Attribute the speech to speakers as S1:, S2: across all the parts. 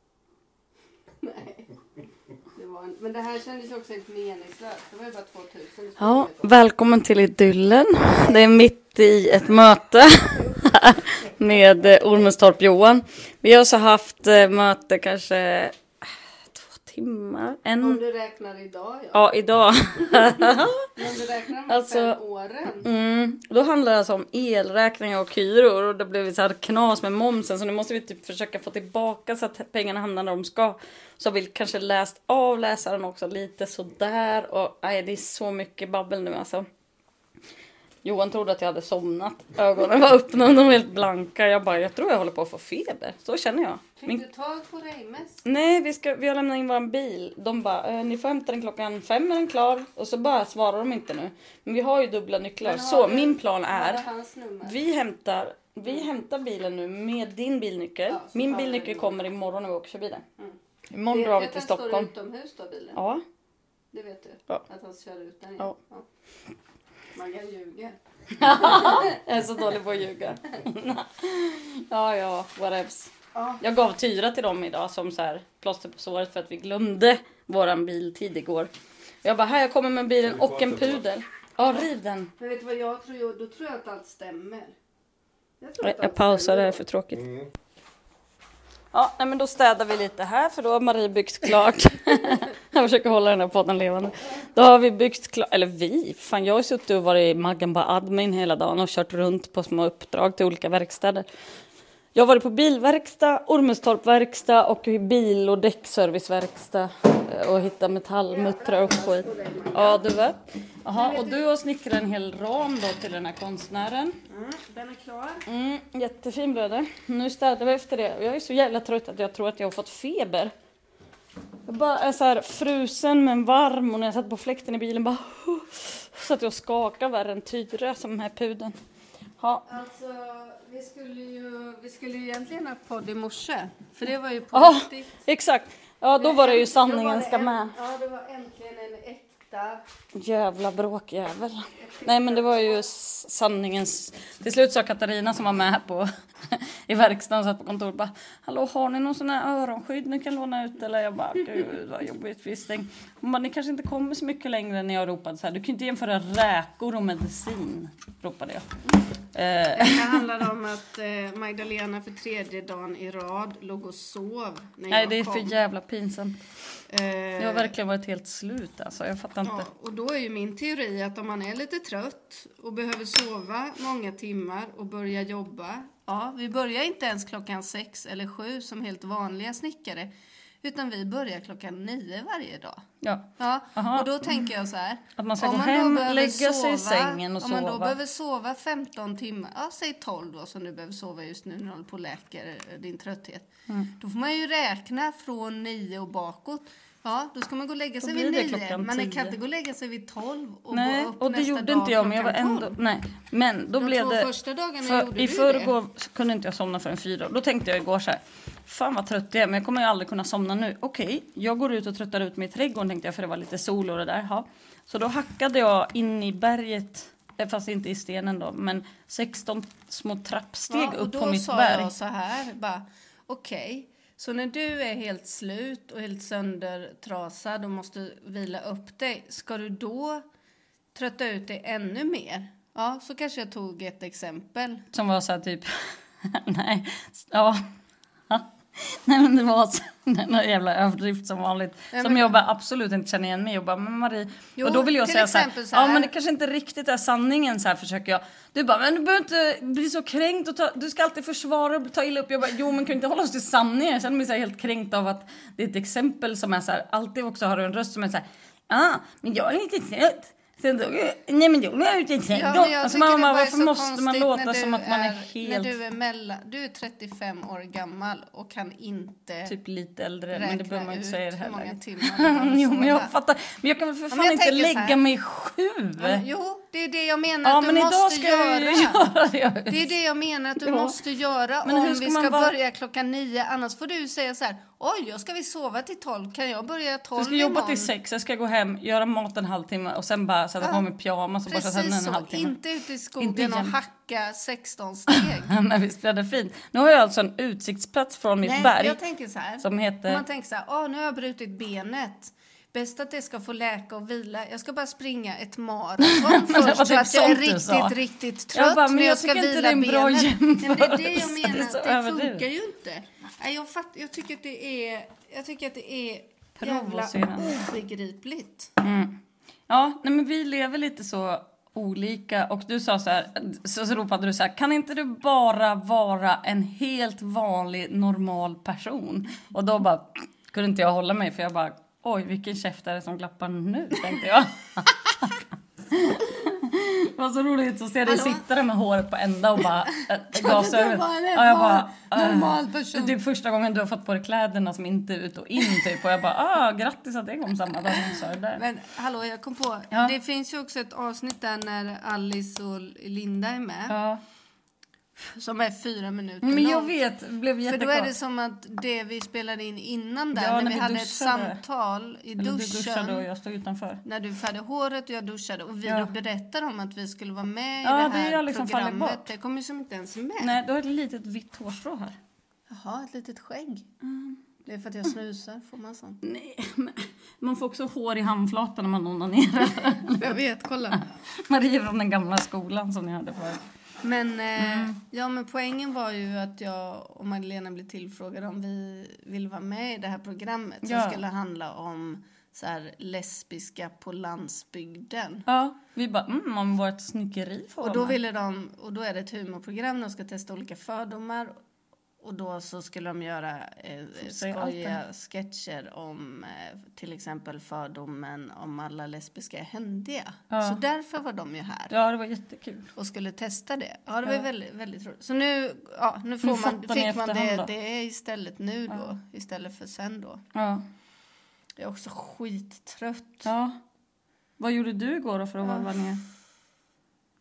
S1: barn. Men det här kändes ju också helt meningslöst. Det var ju bara 2000 det skulle
S2: Ja,
S1: vara.
S2: välkommen till Idyllen. Det är mitt i ett möte med eh, Ormestorp Johan. Vi har alltså haft eh, möte kanske eh, två timmar.
S1: Om
S2: En,
S1: du räknar idag ja.
S2: ja, idag.
S1: Men om du räknar med
S2: Alltså-
S1: fem åren.
S2: Mm, då handlar det alltså om elräkningar och hyror och det blev så här knas med momsen så nu måste vi typ försöka få tillbaka så att pengarna hamnar där de ska. Så har vi kanske läst av läsaren också lite sådär och nej, det är så mycket babbel nu alltså. Johan trodde att jag hade somnat. Ögonen var öppna och de var helt blanka. Jag bara, jag tror jag håller på att få feber. Så känner jag.
S1: Fick
S2: Min
S1: du tag på Reimes?
S2: Nej, vi, ska, vi har lämnat in våran bil. De bara, eh, ni får hämta den klockan fem är den klar. Och så bara svarar de inte nu. Men vi har ju dubbla nycklar.
S1: Men har
S2: Så
S1: du-
S2: min plan
S1: Var det
S2: är,
S1: hans nummer?
S2: vi hämtar, vi hämtar bilen nu med din bilnyckel.
S1: Ja, så
S2: Min
S1: tar vi
S2: bilnyckel
S1: den.
S2: kommer imorgon när vi åker bilen.
S1: Mm.
S2: Imorgon
S1: Vet du
S2: drar vi
S1: att
S2: till
S1: den står
S2: Stockholm.
S1: utomhus då bilen?
S2: Ja,
S1: Det vet du?
S2: Ja.
S1: Att han kör ut den
S2: Ja.
S1: Maggan ljuger.
S2: jag är så dålig på att ljuga. ja, ja, whatevs.
S1: Ja.
S2: Jag gav Tyra till dem idag som så här plåster på såret för att vi glömde våran biltid igår. Jag bara, här jag kommer med bilen och en pudel. Ja, riv den.
S1: Men vet du vad jag tror? Jag- Då tror jag att allt stämmer. Jag, tror
S2: Jag,
S1: att
S2: jag
S1: allt
S2: pausar, det
S1: stämmer.
S2: här är för tråkigt. Ja, nej, men då städar vi lite här för då har Marie byggt klart. jag försöker hålla den här podden levande. Då har vi byggt klart, eller vi, fan jag har ju suttit och varit Magamba admin hela dagen och kört runt på små uppdrag till olika verkstäder. Jag har varit på bilverkstad, Ormestorpverkstad och bil och däckserviceverkstad eh, och hittat metallmuttrar och skit. Ja, du vet. Jaha, och du har snickrat en hel ram då till den här konstnären.
S1: Mm, den är klar.
S2: Mm, jättefin blev det. Nu städar vi efter det. Jag är så jävla trött att jag tror att jag har fått feber. Jag bara är så här frusen men varm och när jag satt på fläkten i bilen bara så att jag skakar värre än Tyra som den här pudeln. Ja,
S1: Alltså, vi skulle ju, vi skulle ju egentligen ha podd i morse. För det var ju på
S2: Ja,
S1: riktigt.
S2: exakt. Ja, då var det ju
S1: Då var
S2: sanningen
S1: det
S2: ska
S1: en-
S2: med.
S1: Ja, det var äntligen en äkta...
S2: Jävla bråkjävel. Nej men det var ju s- sanningens... Till slut sa Katarina som var med här på, i verkstaden och satt på kontoret bara Hallå har ni någon sån här öronskydd ni kan låna ut eller? Jag bara gud vad jobbigt visning. Hon bara ni kanske inte kommer så mycket längre när jag ropade så här. Du kan ju inte jämföra räkor och medicin. Ropade jag. Eh,
S1: Det handlar om att eh, Magdalena för tredje dagen i rad låg och sov när
S2: nej
S1: jag
S2: det är
S1: kom.
S2: för jävla pinsamt.
S1: Eh,
S2: Jag har verkligen varit helt slut alltså. Jag fattar inte.
S1: Ja, och då är ju min teori att om man är lite trött och behöver sova många timmar och börja jobba. Ja, vi börjar inte ens klockan sex eller sju som helt vanliga snickare. Utan vi börjar klockan nio varje dag.
S2: Ja.
S1: Ja,
S2: Aha.
S1: och då tänker jag så här.
S2: Att man ska
S1: om
S2: gå
S1: då
S2: hem,
S1: behöver
S2: lägga sig i sängen och
S1: Om man då
S2: sova.
S1: behöver sova 15 timmar, ja, säg 12 då som du behöver sova just nu när du håller på och läker eh, din trötthet.
S2: Mm.
S1: Då får man ju räkna från 9 och bakåt. Ja, då ska man gå och lägga
S2: Då
S1: sig
S2: blir
S1: vid
S2: det
S1: 9.
S2: klockan
S1: Man kan
S2: 10.
S1: inte gå och lägga sig vid 12 och
S2: Nej,
S1: gå upp
S2: och det
S1: nästa
S2: gjorde
S1: dag
S2: inte jag men jag var
S1: klockan
S2: ändå...
S1: 12.
S2: Nej, men då
S1: De
S2: blev
S1: två
S2: det...
S1: första dagarna
S2: För,
S1: gjorde
S2: I
S1: du
S2: förrgår så kunde inte jag somna förrän fyra. Då tänkte jag igår så här. Fan vad trött jag är men jag kommer ju aldrig kunna somna nu. Okej, jag går ut och tröttar ut mig i trädgården tänkte jag för det var lite sol och det där. Ja. Så då hackade jag in i berget, eh, fast inte i stenen då, men 16 små trappsteg
S1: och
S2: upp
S1: då
S2: på mitt
S1: sa
S2: berg.
S1: jag så här, bara okej. Så när du är helt slut och helt söndertrasad och måste vila upp dig, ska du då trötta ut dig ännu mer? Ja, så kanske jag tog ett exempel.
S2: Som var så här typ... nej, ja. Nej men det var så- någon jävla överdrift som vanligt.
S1: Nej,
S2: som
S1: men-
S2: jag bara absolut inte känner igen mig i. Jag bara, men Marie.
S1: Jo,
S2: och då vill jag
S1: till
S2: säga så här,
S1: exempel så här.
S2: Ja men det kanske inte riktigt är sanningen så här försöker jag. Du bara, men du behöver inte bli så kränkt och ta, du ska alltid försvara och ta illa upp. Jag bara, jo men kan vi inte hålla oss till sanningen? Jag känner mig så här helt kränkt av att det är ett exempel som är så här. Alltid också har du en röst som är så här. ah, men jag är lite trött. Sen då, nej men jag är lite trött.
S1: Ja, men jag
S2: alltså
S1: tycker det
S2: mamma
S1: bara är
S2: varför
S1: så
S2: måste man
S1: konstigt när
S2: låta som
S1: du
S2: att man är, helt...
S1: När du är, mellan, du är 35 år gammal och kan inte
S2: typ lite äldre,
S1: räkna
S2: men det behöver man ju inte säga i det
S1: ut hur
S2: här
S1: många
S2: läget.
S1: timmar du behöver
S2: Jo, men
S1: sova.
S2: jag fattar. Men jag kan väl för
S1: men
S2: fan
S1: jag
S2: inte
S1: tänker så här.
S2: lägga mig sju?
S1: Ja, men- Jo, det är det jag menar
S2: Ja,
S1: att du
S2: men idag
S1: måste
S2: ska
S1: göra.
S2: jag ju göra det.
S1: Det är det jag menar att du
S2: Ja.
S1: måste göra
S2: Men hur
S1: om
S2: ska
S1: vi
S2: man
S1: ska
S2: vara-
S1: börja klockan nio. Annars får du säga så här, oj, jag ska vi sova till tolv? Kan jag börja tolv
S2: Jag ska jobba till sex, jag ska gå hem, göra mat en halvtimme och sen bara sätta på mig pyjamas och borsta tänderna
S1: Precis så,
S2: en halvtimme.
S1: inte ute i skogen
S2: igen.
S1: och hacka 16 steg.
S2: men visst blev det fint? Nu har jag alltså en utsiktsplats från mitt
S1: Nej,
S2: berg
S1: jag tänker så här.
S2: som
S1: Om
S2: heter...
S1: Man tänker så här, ah, nu har jag brutit benet. Bäst att det ska få läka och vila. Jag ska bara springa ett maraton
S2: det var
S1: först så
S2: typ
S1: att jag är
S2: sånt du sa.
S1: riktigt, riktigt trött.
S2: bara, men
S1: men
S2: jag
S1: jag ska
S2: tycker inte
S1: vila
S2: det är en bra
S1: benen. Nej, men det är det jag
S2: jämförelse.
S1: menar,
S2: Så
S1: att det
S2: överdrivet.
S1: funkar ju inte. Nej, jag, fatt, jag tycker att det är, jag tycker att det är jävla
S2: Provocerande.
S1: obegripligt.
S2: Ja, nej men vi lever lite så olika och du sa så här, så så ropade du så här, kan inte du bara vara en helt vanlig normal person? Och då bara kunde inte jag hålla mig för jag bara, oj vilken käftare som glappar nu tänkte jag. Det var så roligt att se dig
S1: Hallå?
S2: sitta där med håret på ända och bara äh,
S1: du
S2: gasöver.
S1: vara en
S2: Ja, jag bara,
S1: normal-
S2: äh,
S1: normal person?
S2: Det är första gången du har fått på dig kläderna som inte är ut och in typ och jag bara, ah, grattis att det kom samma dag som du sa det där.
S1: Men hallå, jag kom på.
S2: Ja.
S1: Det finns ju också ett avsnitt där när Alice och Linda är med.
S2: Ja.
S1: Som är fyra minuter
S2: Men jag
S1: långt.
S2: vet, det blev
S1: För
S2: jättekort.
S1: då är det som att det vi spelade in innan där,
S2: Ja,
S1: när,
S2: när
S1: vi,
S2: vi
S1: hade ett
S2: duschade.
S1: samtal i
S2: Eller
S1: duschen.
S2: Du duschade och jag stod utanför.
S1: När du färgade håret och jag duschade och vi
S2: Ja.
S1: då berättade om att vi skulle vara med
S2: Ja,
S1: i det
S2: det
S1: här
S2: har liksom fallit
S1: programmet.
S2: bort.
S1: Det kom ju som inte ens med.
S2: Nej, du har ett litet vitt hårstrå här.
S1: Jaha, ett litet skägg.
S2: Mm.
S1: Det är för att jag snusar, får man sånt?
S2: Nej, men man får också hår i handflatan när man onanerar.
S1: Jag vet, kolla.
S2: Marie från den gamla skolan som ni hade förut.
S1: Men, eh,
S2: Mm.
S1: ja, men poängen var ju att jag och Magdalena blev tillfrågade om vi vill vara med i det här programmet
S2: Ja.
S1: som skulle handla om så här, lesbiska på landsbygden.
S2: Ja, vi bara, mm, om vårt snickeri får
S1: Och
S2: vara
S1: då,
S2: med.
S1: ville de, och då är det ett humorprogram där de ska testa olika fördomar och då så skulle de göra eh,
S2: säger allt
S1: skojiga sketcher om eh, till exempel fördomen om alla lesbiska är händiga.
S2: Ja.
S1: Så därför var de ju här
S2: Ja, det var jättekul.
S1: och skulle testa det. Ja, det var ju väldigt, väldigt roligt. Så nu, ja, nu, får
S2: Nu
S1: man,
S2: fattar ni
S1: fick man
S2: efterhand
S1: det,
S2: då.
S1: det är istället nu då, istället för sen då.
S2: Ja.
S1: Jag är också skittrött.
S2: ja. Vad gjorde du igår då för att varva ner?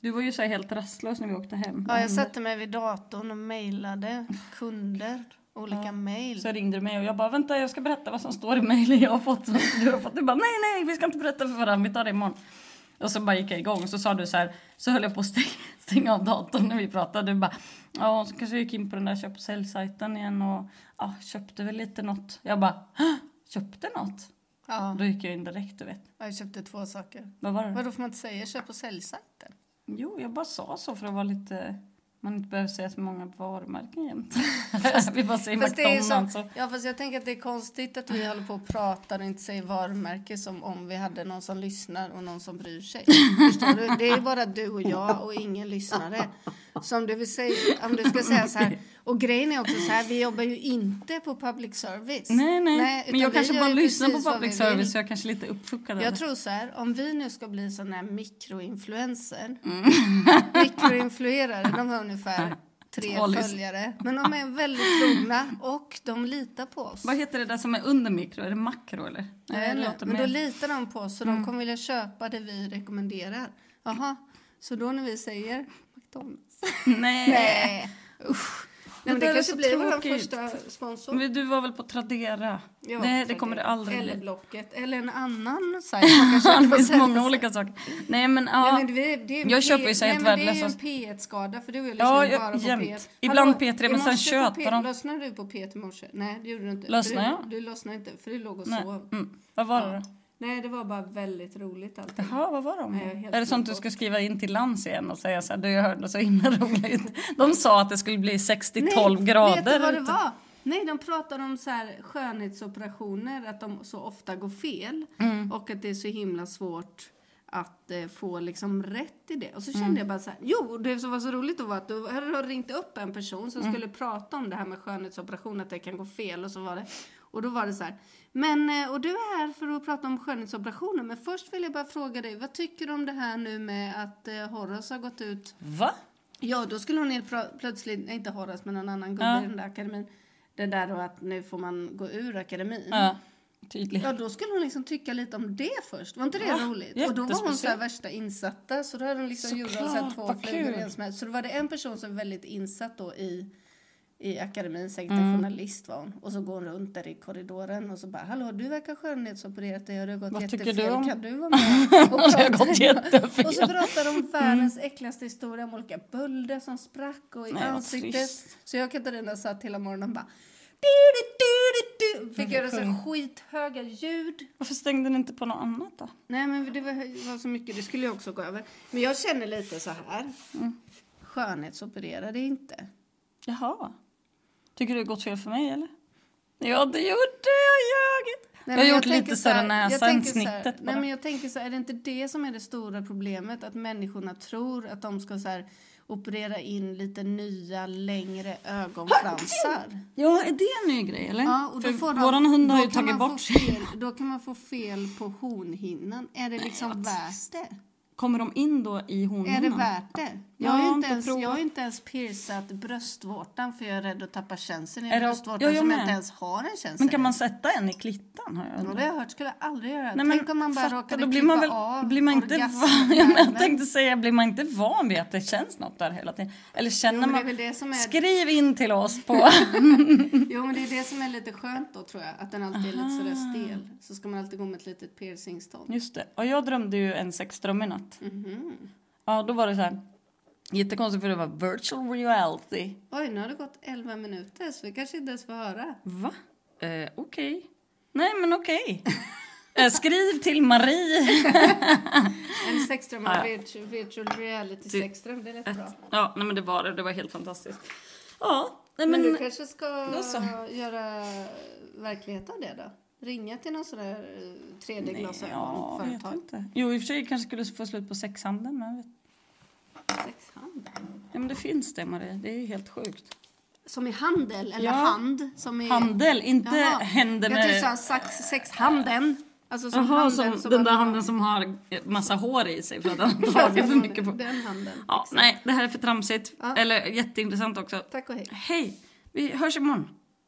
S2: Du var ju så här helt rastlös när vi åkte hem.
S1: Ja, jag satte mig vid datorn och mejlade kunder, olika mejl.
S2: Så ringde du mig och jag bara vänta jag ska berätta vad som står i mejlen jag har fått. Och Du har fått. Du bara nej nej vi ska inte berätta för varandra vi tar det imorgon. Och så bara gick jag igång så sa du så här så höll jag på att stänga, stänga av datorn när vi pratade. Du bara ja och så kanske jag gick in på den där köp och säljsajten igen och ja köpte väl lite något. Jag bara "Hä? köpte något.
S1: Ja,
S2: Då gick jag in direkt du vet.
S1: jag köpte två saker.
S2: Vad var det?
S1: Vadå får man inte säga köp och säljsajten?
S2: Jo jag bara sa så för att vara lite man inte behöver säga så många varumärken jämt. vi bara säger
S1: Fast det är ju
S2: alltså, McDonalds. och-
S1: så, ja, fast jag tänker att det är konstigt att vi håller på och pratar och inte säger varumärke som om vi hade någon som lyssnar och någon som bryr sig. Förstår du? Det är bara du och jag och ingen lyssnare. Så om du, vill säga, om du ska säga så här, och grejen är också så här, vi jobbar ju inte på public service.
S2: Nej, nej.
S1: utan
S2: men jag
S1: vi
S2: kanske
S1: gör
S2: bara
S1: ju
S2: lyssnar
S1: precis
S2: på
S1: vad
S2: public
S1: vi vill.
S2: service så jag är kanske är lite uppfuckad. av
S1: Jag
S2: det.
S1: tror så här, om vi nu ska bli såna här mikroinfluencer, mikroinfluerare, de har ungefär tre
S2: Två lys-
S1: följare, men de är väldigt trogna och de litar på oss.
S2: Vad heter det där som är under mikro? Är det makro eller?
S1: Nej,
S2: det
S1: nej,
S2: låter
S1: men då
S2: mer- Mm.
S1: litar de på oss så de kommer vilja köpa det vi rekommenderar. Jaha, så då när vi säger McDonalds?
S2: nej.
S1: Nej, usch.
S2: Det
S1: Nej, men
S2: där
S1: det
S2: är
S1: kanske
S2: så
S1: blir vår
S2: tråkigt.
S1: första sponsor.
S2: Men du var väl på Tradera?
S1: Jag
S2: nej,
S1: vet
S2: det
S1: inte.
S2: kommer det aldrig
S1: Eller
S2: bli.
S1: Blocket, eller en annan sajt. som kanske
S2: Det finns
S1: säljer
S2: många
S1: sig.
S2: olika saker. Nej men ja.
S1: Nej, men det är, det är en
S2: Jag
S1: P-
S2: köper ju så
S1: Nej,
S2: helt
S1: men
S2: värdelösa-
S1: Det är ju en P1-skada för du är
S2: Ja,
S1: liksom
S2: jag-
S1: bara på
S2: jämt.
S1: P1.
S2: Ibland P3, men
S1: i morse på
S2: sen köper
S1: P-
S2: de.
S1: Lossnade du på P1 i morse? Nej, det gjorde du inte.
S2: Lossnade
S1: du,
S2: jag?
S1: Du lossnade inte för du låg och
S2: nej.
S1: sov.
S2: Mm. Vad var det då?
S1: Nej, det var bara väldigt roligt allting.
S2: Jaha, vad var det om?
S1: Nej, jag är helt
S2: Är det sånt du
S1: glömt
S2: ska skriva in till Lans igen och säga så här, du jag hörde något så himla roligt. De sa att det skulle bli 60-12 grader.
S1: vet du vad det
S2: ute.
S1: var? Nej, de pratar om så här skönhetsoperationer, att de så ofta går fel
S2: Mm.
S1: och att det är så himla svårt att eh, få liksom rätt i det. Och så kände
S2: Mm.
S1: jag bara så här, jo, det som var så roligt då var att då hade de ringt upp en person
S2: Mm.
S1: som skulle prata om det här med skönhetsoperation, att det kan gå fel och så var det. Och då var det så här, men, eh, och du är här för att prata om skönhetsoperationer, men först vill jag bara fråga dig, vad tycker du om det här nu med att eh, Horace har gått ut
S2: Va?
S1: Ja, då skulle hon helt pra- plötsligt, nej, inte Horace men någon annan gubbe
S2: Ja.
S1: i den där akademin. Det där då att nu får man gå ur akademin. Mm. Ja.
S2: Ja, tydligt.
S1: då skulle hon liksom tycka lite om det först. Var inte det
S2: Ja,
S1: roligt? Och då var hon så här
S2: jättespeciellt.
S1: värsta insatta. Så då hade hon liksom gjort så
S2: Såklart,
S1: här två
S2: vad
S1: flugor
S2: kul.
S1: i en smäll. Så då var det en person som var väldigt insatt då i, i akademin, säkert en
S2: Mm.
S1: journalist var hon. Och så går hon runt där i korridoren och så bara, hallå du verkar ha skönhetsopererat dig, har du gått
S2: Vad tycker
S1: jättefel?
S2: du om-
S1: Kan du vara med och
S2: Jag har
S1: prata?"
S2: gått jättefel.
S1: Och så pratar de om världens äckligaste historia om olika bölder som sprack och i
S2: Mm. Nej, vad
S1: ansiktet.
S2: trist.
S1: Så jag och Katarina satt hela morgonen och bara Fick göra så här skithöga ljud.
S2: Varför stängde ni inte på något annat då?
S1: Nej men det var, var så mycket, det skulle jag också gå över. Men jag känner lite så här.
S2: Mm.
S1: Skönhetsoperera det inte.
S2: Jaha. Tycker du det gått fel för mig eller? Jag har inte gjort det, jag ljög!
S1: Nej,
S2: jag
S1: men
S2: har gjort
S1: tänker
S2: lite
S1: så här-
S2: större
S1: jag
S2: näsa än
S1: tänker så här-
S2: snittet
S1: Nej
S2: bara.
S1: men jag tänker så här, är det inte det som är det stora problemet? Att människorna tror att de ska så här operera in lite nya längre ögonfransar.
S2: Ja, är det en ny grej eller?
S1: Ja, och då
S2: För
S1: får de,
S2: våran hund har
S1: då
S2: ju
S1: kan
S2: tagit
S1: man
S2: bort
S1: få fel, Då kan man få fel på hornhinnan. Är det liksom värt det?
S2: Kommer de in då i
S1: Är det
S2: hornhinnan?
S1: värt det? Jag
S2: Jag
S1: har ju
S2: har
S1: inte
S2: inte
S1: ens,
S2: provat.
S1: jag har ju inte ens piercat bröstvårtan för jag är rädd att tappa känseln i
S2: Är det-
S1: bröstvårtan
S2: Ja, jag
S1: som jag
S2: med.
S1: inte ens har en känsel
S2: Men kan
S1: i.
S2: man sätta en i klittan? Har jag
S1: Ja,
S2: undrat.
S1: det har jag hört skulle jag aldrig göra.
S2: Nej, men
S1: Tänk om man bara
S2: fatta,
S1: råkade
S2: då
S1: klippa
S2: blir man väl,
S1: av
S2: blir man inte van,
S1: orgasmen.
S2: ja, men Jag tänkte säga, blir man inte van vid att det känns något där hela tiden? Eller
S1: Jo,
S2: känner
S1: men det är
S2: man...
S1: väl det som är,
S2: Skriv in till oss på...
S1: jo, men det är det som är lite skönt då tror jag. Att den alltid är lite sådär stel. Så ska man alltid gå med ett litet piercingstånd.
S2: Just det. Och jag drömde ju en sexdröm i natt.
S1: Mhm.
S2: Ja, då var det så här... Jättekonstigt för det var virtual reality.
S1: Oj, nu har det gått 11 minuter så vi kanske inte ens får höra.
S2: Va? Eh, okej. Nej, men okej. Eh, skriv till Marie.
S1: En sexdröm,
S2: Ja.
S1: en virtual, virtual reality
S2: Du-
S1: sexdröm, det lät bra.
S2: Ja, nej men det var det. Det var helt fantastiskt. Ja, nej
S1: Men,
S2: men...
S1: du kanske ska
S2: då så.
S1: göra verklighet av det då? Ringa till någon sån där eh, 3D-glasögon
S2: ja, jag vet
S1: företag.
S2: inte. Jo, i och för sig kanske skulle få slut på sexhandeln, men jag vet
S1: Sexhandel.
S2: Ja, men det finns det, Marie. Det är ju helt sjukt.
S1: Som i handel eller
S2: Ja.
S1: hand? Som i...
S2: Handel, inte
S1: Jaha.
S2: händer
S1: Jag tyckte
S2: med...
S1: du sa sax, sexhandeln. Alltså som
S2: Jaha,
S1: handeln.
S2: som
S1: som
S2: den
S1: man-
S2: där handen som har massa hår i sig för att han har
S1: Ja,
S2: tagit för
S1: den-
S2: mycket på...
S1: Den handen.
S2: Ja, nej, det här är för tramsigt.
S1: Ja.
S2: Eller jätteintressant också.
S1: Tack och hej.
S2: Hej! Vi hörs imorgon.